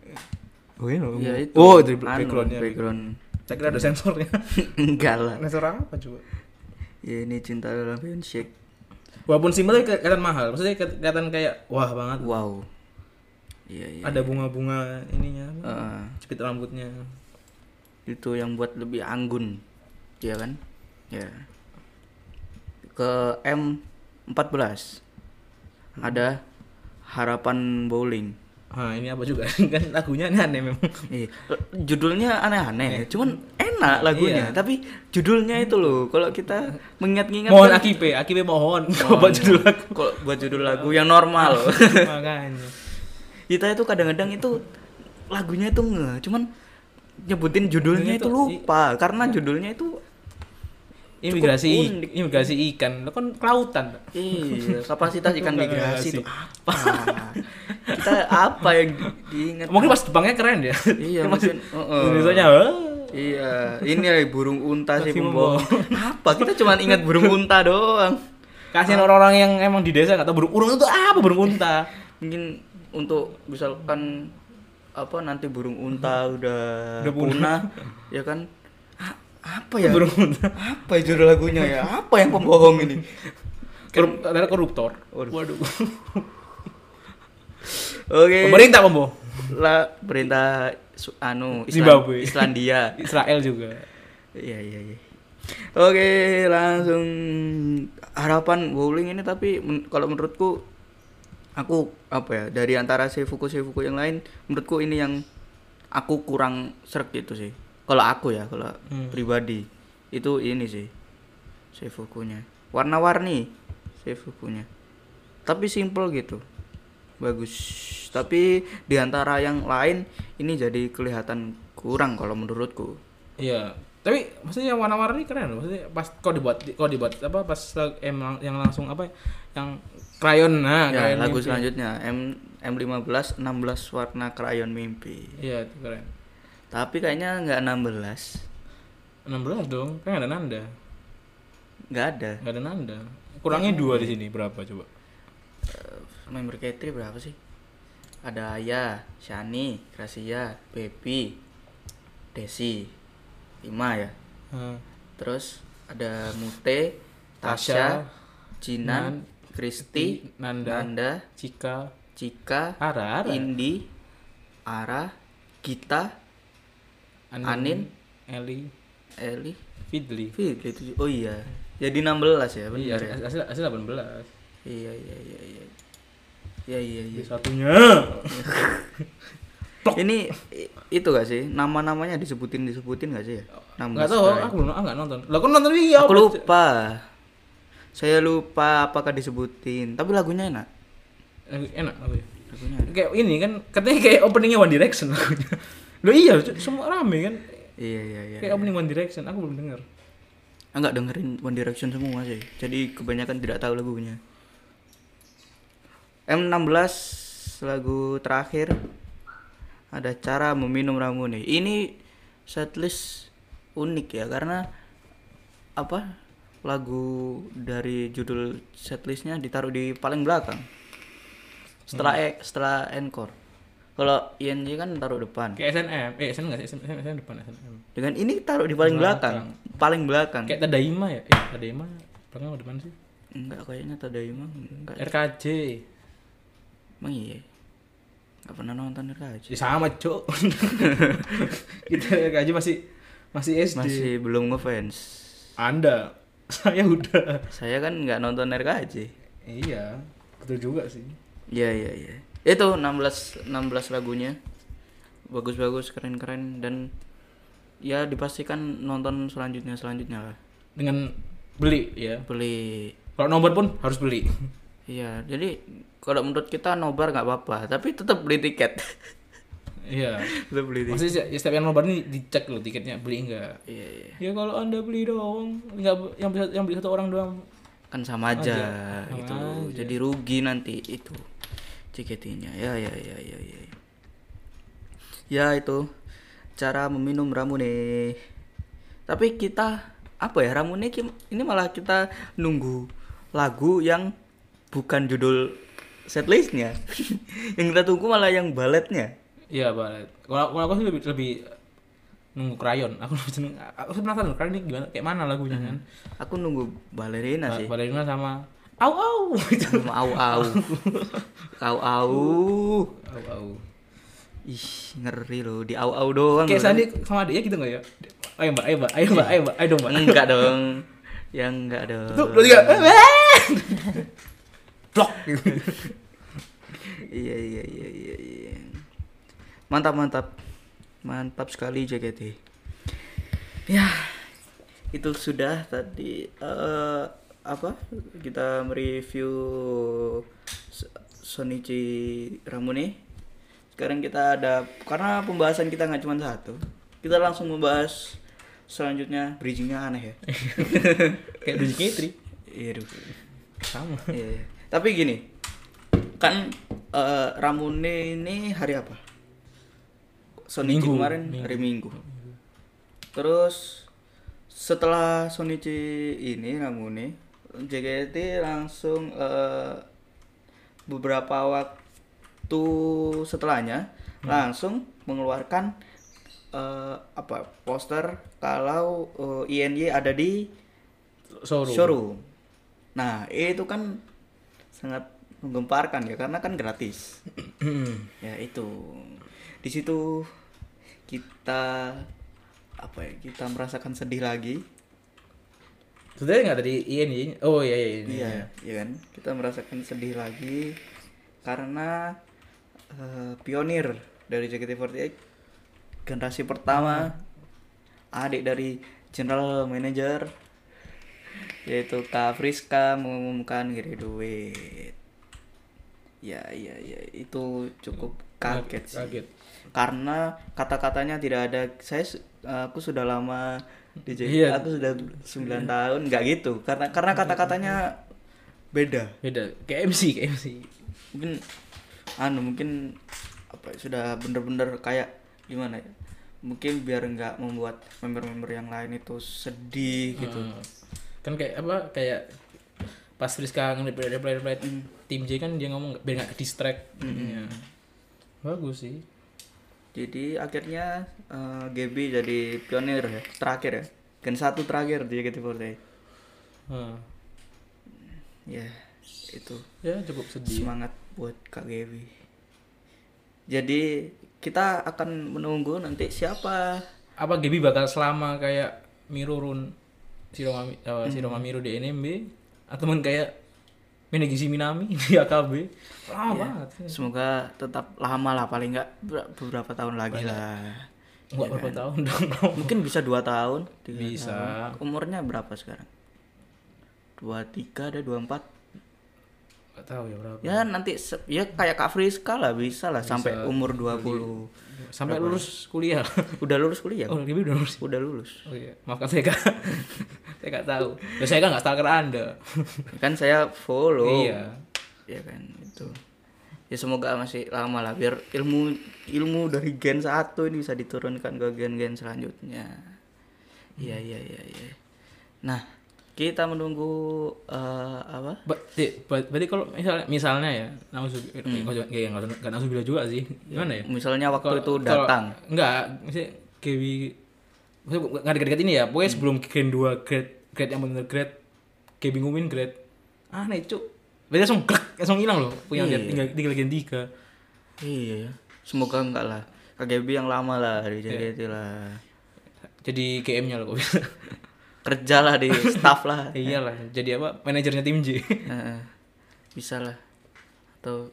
oh ya itu oh dari anu, backgroundnya background saya kira ada sensornya enggak lah sensor apa coba ya ini cinta dalam handshake Walaupun simple tapi kelihatan mahal. Maksudnya kelihatan kayak wah banget. wow iya iya Ada bunga-bunga ininya, apa? Eh, jepit rambutnya. itu yang buat lebih anggun ya kan ya ke M 14 ada harapan bowling Ah, ini apa juga? kan lagunya ini aneh memang. Iya. Judulnya aneh-aneh, cuman enak lagunya. Iya. Tapi judulnya itu loh, kalau kita mengingat-ingat mohon kan- ya. Akibe, Akibe mohon. Coba judul lagu. Kalau buat judul lagu yang normal. loh. Makanya. kita itu kadang-kadang itu lagunya itu nge, cuman nyebutin judulnya Judulnya itu tuh- lupa karena judulnya itu Imigrasi, i- unik. imigrasi ikan. Lo kan kelautan. iya, kapasitas ikan Itu migrasi migrasi. itu apa? kita apa yang di- diingat? Mungkin pas Jepangnya keren ya. kan? Iya, Pas mungkin, uh-uh. Indonesia Iya, ini lagi burung unta sih Tapi pembohong. Apa? Kita cuman ingat burung unta doang. kasihan Ah. orang-orang yang emang di desa nggak tahu burung urung itu apa burung unta. mungkin untuk misalkan apa nanti burung unta udah, Hmm. Udah punah. punah ya kan A- apa ya Burung unta. apa ya judul lagunya ya apa yang pembohong ini Korup, adalah koruptor. Waduh. Waduh. oke Pemerintah pembohong. lah perintah su- anu Zimbabwe. Islandia Israel juga. iya iya iya oke langsung harapan bowling ini tapi men- kalau menurutku aku apa ya dari antara seifuku seifuku yang lain menurutku ini yang aku kurang serg gitu sih kalau aku ya kalau Hmm. pribadi itu ini sih seifukunya warna-warni seifukunya tapi simple gitu bagus tapi di antara yang lain ini jadi kelihatan kurang kalau menurutku Iya, tapi maksudnya yang warna-warni keren loh. Maksudnya pas kok dibuat kok dibuat apa pas lag- em lang- yang langsung apa ya? yang krayon nah, ya, krayon lagu mimpi. selanjutnya M M15 16 warna krayon mimpi. Iya, itu keren. Tapi kayaknya nggak 16. 16 dong, kan ada nanda. nggak ada. Enggak ada nanda. Kurangnya Ya. dua di sini berapa coba? Member K3 berapa sih? Ada Aya, Shani, Gracia, Baby, Desi. 5 ya. Hah. Terus ada Mute, Tasya, Tasya, Jinan, Kristi, Nanda, Nanda, Cika, Cika, Ara, Ara, Indi, Ara, Gita, Anin, Eli, Eli, Fidli. Fidli tujuh- Oh iya. Jadi 16 ya, benar Iya, ya. hasil hasil 18. Iya iya iya iya. ya iya iya satunya ini i- itu gak sih nama namanya disebutin disebutin gak sih ya nama nggak tahu strike. aku belum ah, nggak nonton lah aku nonton iya aku apa? lupa saya lupa apakah disebutin tapi lagunya enak Lagu- enak aku ya. lagunya enak. kayak ini kan katanya kayak openingnya One Direction lagunya lo iya cu- semua rame kan iya iya iya kayak opening One Direction aku belum dengar enggak dengerin One Direction semua sih jadi kebanyakan tidak tahu lagunya M16 lagu terakhir ada cara meminum Ramune ini setlist unik ya karena apa lagu dari judul setlistnya ditaruh di paling belakang setelah e- setelah encore kalau INJ kan taruh depan kayak SNM eh SNM nggak sih SNM, SNM depan SNM dengan ini taruh di paling belakang paling belakang kayak Tadaima ya eh Tadaima belakang apa depan sih enggak kayaknya Tadaima enggak RKJ Emang iya? Gak pernah nonton RKJ? Ya, sama cok kita RKJ masih masih SD Masih belum ngefans Anda saya udah Saya kan nggak nonton RKJ iya betul juga sih Iya iya iya Itu 16, 16 lagunya Bagus-bagus, keren-keren Dan ya dipastikan nonton selanjutnya-selanjutnya lah dengan beli ya Beli kalau nomor pun harus beli Iya, jadi kalau menurut kita nobar nggak apa-apa, tapi tetap beli tiket. iya tetap beli tiket. maksudnya ya, setiap yang nobar ini dicek loh tiketnya beli enggak Iya, iya. ya kalau anda beli doang nggak yang beli yang beli satu orang doang Kan sama aja, Aja. Sama gitu. Jadi rugi nanti itu tiketnya. Ya, ya, ya, ya, ya. Ya itu cara meminum ramune. Tapi kita apa ya ramune kim- ini malah kita nunggu lagu yang bukan judul setlistnya. yang kita tunggu malah yang baletnya. iya balet kalau kalau aku sih lebih lebih nunggu krayon aku lebih seneng aku sih penasaran krayon ini gimana kayak mana lagunya kan Aku nunggu balerina Hmm. sih. balerina sama au au gitu Sama au au. Au au. au au Ih, ngeri loh di au au doang. kayak loh. Sandi sama adiknya gitu nggak ya ayo mbak ayo mbak ayo mbak ayo mbak ayo dong mbak Enggak dong. Yang enggak dong. tuh dua tiga blok gitu Iya iya iya iya iya. Mantap mantap. Mantap sekali JKT. Ya. Itu sudah tadi eh, apa? Kita mereview S- Sonichi Ramune. Sekarang kita ada karena pembahasan kita nggak cuma satu. Kita langsung membahas selanjutnya bridgingnya aneh ya. kayak Duji Kitri Iya. aduh. sama Iya, iya. Tapi gini, kan eh, Ramune ini hari apa? Sonichi Minggu. kemarin hari Minggu. Terus setelah Sonichi ini Ramune, JKT langsung eh, beberapa waktu setelahnya Hmm. langsung mengeluarkan eh, apa poster kalau eh, INY ada di Soru showroom. Nah, itu kan sangat menggemparkan ya karena kan gratis. Hmm. ya itu. Di situ kita apa ya? Kita merasakan sedih lagi. Sebenarnya nggak tadi Ian Ian oh iya iya iya Iya, iya kan? Kita merasakan sedih lagi karena eh, pionir dari JKT48 generasi pertama adik dari general manager yaitu Kak Friska mengumumkan graduate. Ya, iya, iya, itu cukup kaget sih. kaget Karena kata-katanya tidak ada saya su- aku sudah lama di JKT, Iya. aku sudah 9 tahun nggak gitu. Karena karena kata-katanya beda. beda kayak MC kayak MC Mungkin anu mungkin apa ya, sudah bener-bener kayak gimana ya? Mungkin biar nggak membuat member-member yang lain itu sedih gitu. Hmm. kan kayak apa kayak pas Friska nge-reply reply reply tim J kan dia ngomong nggak- biar nggak ke distract jadinya. bagus sih Jadi akhirnya eh, GB jadi pionir ya, terakhir ya. Gen satu terakhir di JKT48. Hmm. Ya, itu. ya cukup sedih semangat buat Kak Gaby. Jadi kita akan menunggu nanti siapa apa Gibi bakal selama kayak eh, Hmm. Mirurun Siroma, uh, Siroma Miru di NMB atau mungkin kayak Menegisi Minami di AKB lama banget Semoga tetap lama lah paling nggak ber- beberapa tahun lagi lah. nggak berapa tahun dong bro Mungkin bisa dua tahun. tiga bisa tahun. Umurnya berapa sekarang? Dua tiga ada dua empat. nggak tahu ya berapa Ya nanti se- ya kayak Kak Friska lah bisa lah sampai umur 20 sampai lulus kuliah Udah lulus kuliah? oh lebih udah lulus Udah lulus. oh iya maafkan saya kak saya nggak tahu ya saya kan nggak stalker anda Kan saya follow. iya ya kan itu ya semoga masih lama lah biar ilmu ilmu dari gen satu ini bisa diturunkan ke gen-gen selanjutnya iya iya iya iya nah kita menunggu eh, apa berarti ber- berarti kalau misalnya misalnya ya nauzubillah kayak nggak nauzubillah juga sih gimana ya misalnya Hmm. waktu Kalau- itu kalau- datang enggak maksudnya Kewi maksudnya bu- nggak dekat-dekat ini ya Hmm. pokoknya sebelum grade 2 grade grade yang benar grade kayak bingungin grade aneh cuk berarti langsung krek, langsung hilang loh punya Iya. grade tiga tiga grade tiga iya semoga enggak lah KGB yang lama lah dari JKT Iya. lah jadi KM nya loh kok bisa kerjalah di staff lah Ya iyalah jadi apa manajernya tim J Heeh. bisa lah atau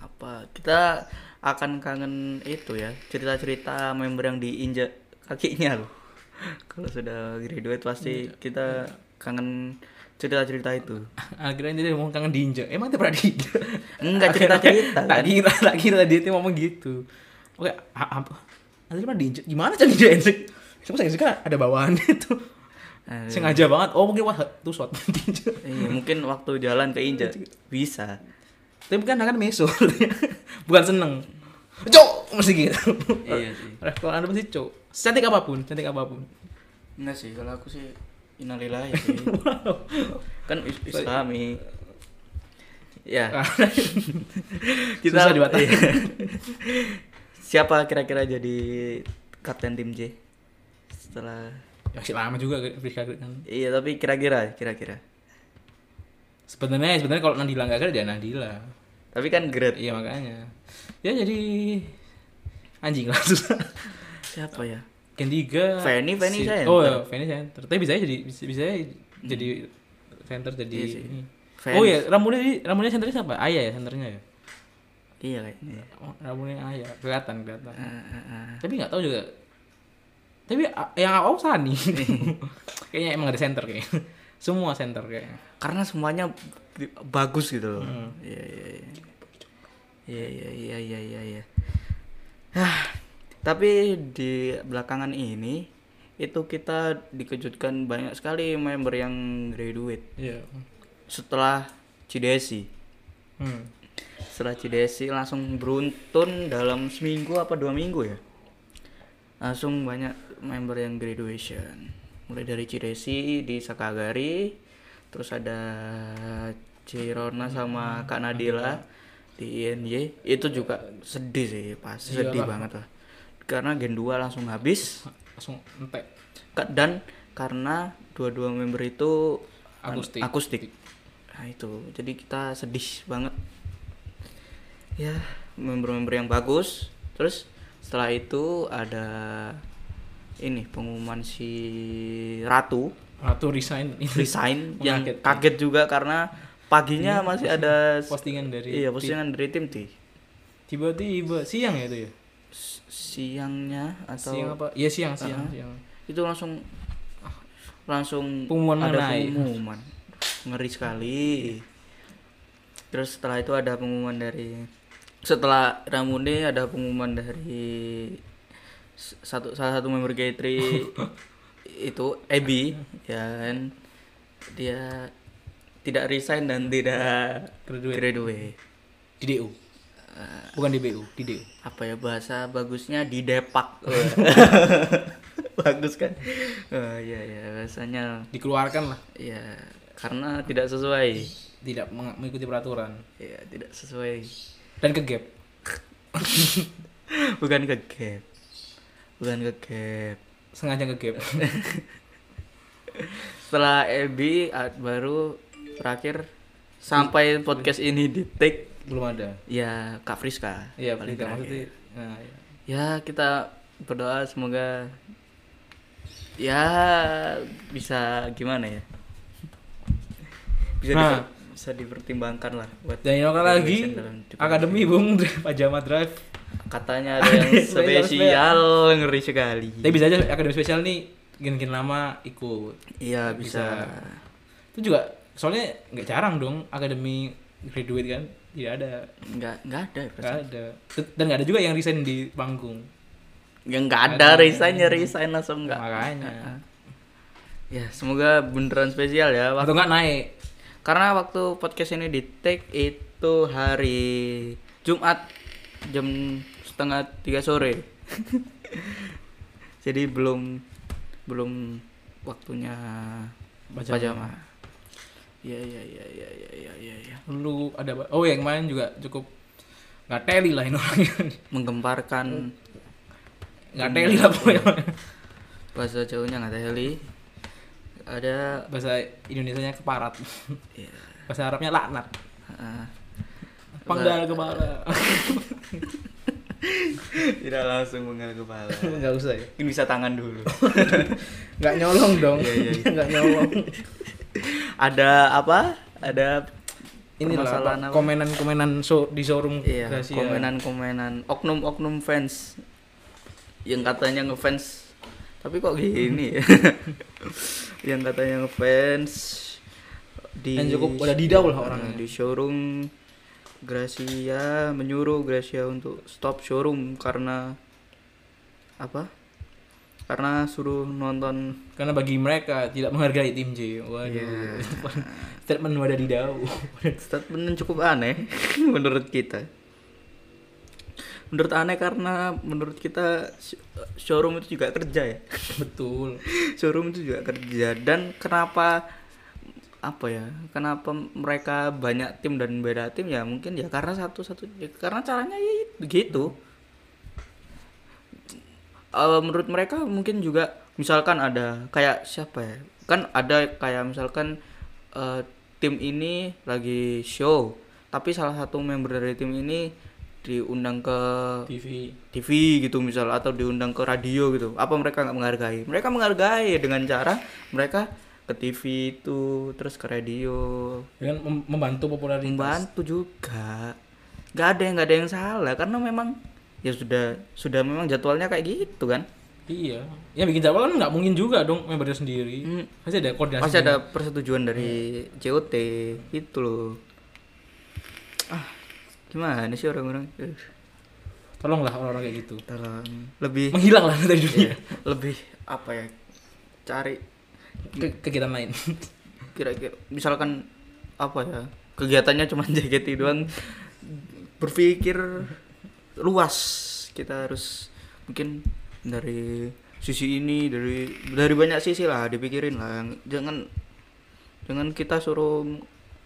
apa kita akan kangen itu ya cerita-cerita member yang diinjak kakinya loh kalau sudah graduate pasti kita kangen cerita-cerita itu akhirnya dia mau kangen diinjak emang dia pernah diinjak Enggak, Akhirnya- cerita-cerita, kan? tak kira tak kira dia tuh ngomong gitu oke a- apa ada pernah diinjak gimana cara diinjak Cuma saya suka ada bawaan itu Eh, sengaja banget oh mungkin wah tuh shot diinjak iya, mungkin waktu jalan keinjak bisa tapi kan kan meso bukan seneng cok mesti gitu Iya sih. kalau anda pasti cok cantik apapun cantik apapun enggak sih kalau aku sih inalilah sih kan is- islami ya Eh, kita Susah dibatalkan. iya. siapa kira-kira jadi kapten tim J setelah Ya, masih lama juga Friska Grid kan iya tapi kira-kira kira-kira sebenarnya sebenarnya kalau Nadila nggak ada ya Nadila tapi kan grade iya makanya ya jadi anjing lah susah siapa ya Gen 3 Fanny, Fanny center. Hmm. Oh iya, Fanny center Tapi bisa aja jadi Bisa, bisa aja jadi Center jadi Iya sih. ini. Fanny. Oh iya Ramunya jadi- Ramunya centernya siapa? Ayah ya centernya ya iya kayaknya Oh, Ramunya Ayah Kelihatan kelihatan Ah, ah, ah. Tapi nggak tahu juga Tapi a- yang aku Sani Iya. Kayaknya emang ada center kayaknya Semua center kayaknya karena semuanya di- bagus gitu loh iya iya iya iya iya iya iya iya Hah, tapi di belakangan ini itu kita dikejutkan banyak sekali member yang graduate Iya setelah Cidesi hmm. setelah Cidesi langsung beruntun dalam seminggu apa dua minggu ya langsung banyak member yang graduation mulai dari Cidesi di Sakagari terus ada Cirona sama Kak Nadila di INY itu juga sedih sih pasti sedih banget lah karena Gen 2 langsung habis Langsung entek Ka- dan karena dua-dua member itu an- Akustik. Nah itu, jadi kita sedih banget. Ya, member-member yang bagus. Terus setelah itu ada ini pengumuman si Ratu Ratu resign resign yang kaget juga karena paginya masih ada s- Postingan dari iya postingan dari tim T. Tiba-tiba Siang ya itu ya S- Siangnya atau Ah. Siang apa? Iya siang siang, siang. itu langsung ah, langsung Pengumuman ada mengenai. pengumuman ngeri sekali terus setelah itu ada pengumuman dari setelah Ramune ada pengumuman dari s- satu salah satu member Gatri itu Ebi ya kan dia tidak resign dan tidak Graduate. graduate Di DU. Bukan di BU, di DU. apa ya bahasa bagusnya di depak bagus kan oh, ya ya bahasanya Dikeluarkan lah. ya karena tidak sesuai Tidak meng- mengikuti peraturan. ya tidak sesuai Dan ke gap. bukan ke gap bukan ke gap Sengaja ke gap. setelah Ebi ah, baru terakhir sampai podcast ini di take Belum ada. ya Kak Friska Iya, paling tidak terakhir. maksudnya. Nah, iya. ya kita berdoa semoga ya bisa gimana ya bisa Nah, bisa bisa dipertimbangkan lah buat Dan yang graduation lagi dalam hidup. akademi bung pajama drive. Iya. katanya ada yang Ada spesial, spesial ngeri sekali Tapi bisa aja akademi spesial nih gen-gen lama ikut. iya bisa. Itu juga soalnya nggak jarang dong akademi graduate kan tidak ada nggak nggak ada ya, nggak ada dan nggak ada juga yang resign di panggung Ya nggak ada resignnya resign langsung nggak. makanya Ya semoga beneran spesial ya. Wak- atau nggak naik Karena waktu podcast ini di take itu hari Jumat jam setengah tiga sore. Jadi belum belum waktunya Pajama. pajama. Iya iya iya iya iya iya iya. Ya. lu ada apa- oh yang kemarin juga cukup nggak teli lah ini orangnya Menggemparkan nggak teli lah pokoknya bahasa jauhnya nggak teli. Ada bahasa Indonesia nya keparat Iya. bahasa Arabnya laknat ah. panggal kepala Tidak langsung mengal kepala. nggak usah ya Mungkin bisa tangan dulu. nggak nyolong dong Iya, iya, iya. nggak nyolong Ada apa? Ada ini Permasalahan lah apa? komenan komenan show di showroom iya, Gracia. komenan-komenan oknum-oknum fans yang katanya ngefans. Tapi kok gini? ya? yang katanya ngefans di Dan cukup wadadidau lah orangnya. di showroom Gracia menyuruh Gracia untuk stop showroom karena apa? Karena suruh nonton karena bagi mereka tidak menghargai tim J waduh Iya. statement wadah di dau Statement yang cukup aneh menurut kita. Menurut aneh karena menurut kita sh- showroom itu juga kerja ya. betul Showroom itu juga kerja dan kenapa apa ya? Kenapa mereka banyak tim dan beda tim ya mungkin ya karena satu-satu ya karena caranya ya begitu. Eh, menurut mereka mungkin juga misalkan ada kayak siapa ya kan ada kayak misalkan eh, tim ini lagi show tapi salah satu member dari tim ini diundang ke TV TV gitu misal atau diundang ke radio gitu apa mereka nggak menghargai mereka menghargai dengan cara mereka ke TV itu terus ke radio dengan mem- membantu popularitas membantu juga nggak ada yang nggak ada yang salah karena memang ya sudah sudah memang jadwalnya kayak gitu kan Iya, ya bikin jadwal kan nggak mungkin juga dong membernya sendiri. Hmm. Pasti ada koordinasi. masih ada persetujuan dari JOT gitu loh ah gimana sih orang-orang Eh, Tolonglah orang-orang kayak gitu. tolong lebih Menghilang lah dari Iya. dunia. lebih apa ya cari Ke- kegiatan lain. kira-kira misalkan apa ya kegiatannya cuma JKT doang berpikir luas kita harus mungkin dari sisi ini dari dari banyak sisi lah dipikirin lah jangan jangan kita suruh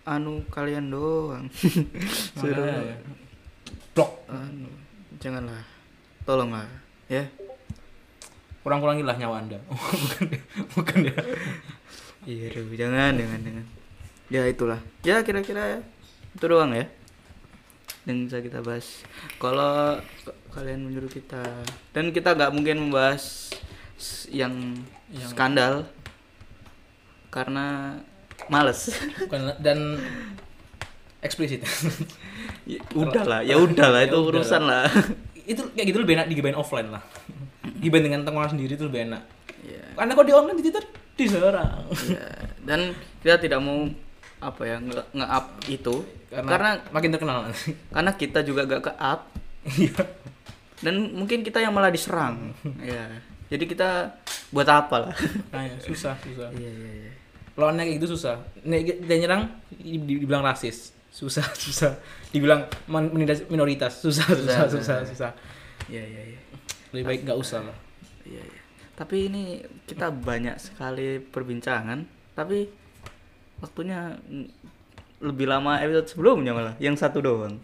anu kalian doang Makanya. ya. suruh Blok. anu, janganlah tolonglah ya Kurang-kurangilah nyawa anda. bukan, bukan ya. iya aduh, jangan jangan jangan ya itulah ya kira-kira itu doang ya yang bisa kita bahas kalau k- kalian menyuruh kita dan kita nggak mungkin membahas s- yang, Yang- skandal karena males Bukan, dan eksplisit. Ya, udahlah ya udahlah itu Ya udahlah. urusan lah itu kayak gitu lebih enak digibain offline lah. Gibain dengan tengkorak sendiri itu lebih enak. ya, Karena kalau di online di Twitter diserang. ya. dan kita tidak mau apa ya nge- nge-up itu Karena, karena makin terkenal nanti. karena kita juga gak ke up Iya. dan mungkin kita yang malah diserang ya jadi kita buat apa lah Makanya Nah, ya, susah, susah. iya iya iya lawannya kayak gitu susah Nih, dia nyerang di- di- dibilang rasis susah susah dibilang men- minoritas- minoritas susah susah susah susah iya iya iya lebih baik nggak usah lah Iya, iya. tapi ini kita banyak sekali perbincangan tapi waktunya mm, lebih lama episode sebelumnya malah yang satu doang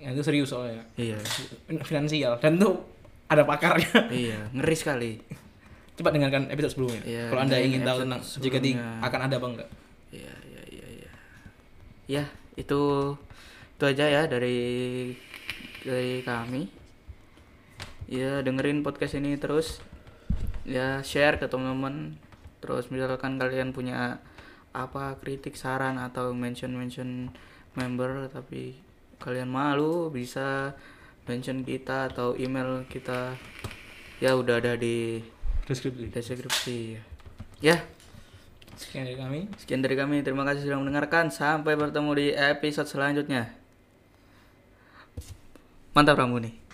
yang Ya, itu serius soalnya iya Fin- finansial dan tuh ada pakarnya iya ngeri sekali coba dengarkan episode sebelumnya Iya, kalau anda dengerin ingin tahu episode tentang jika sebelumnya. akan ada apa enggak iya iya iya iya ya itu itu aja ya dari dari kami ya dengerin podcast ini terus ya share ke teman-teman terus misalkan kalian punya apa kritik saran atau mention mention member tapi kalian malu bisa mention kita atau email kita ya udah ada di deskripsi deskripsi ya. ya sekian dari kami sekian dari kami terima kasih sudah mendengarkan sampai bertemu di episode selanjutnya mantap Ramuni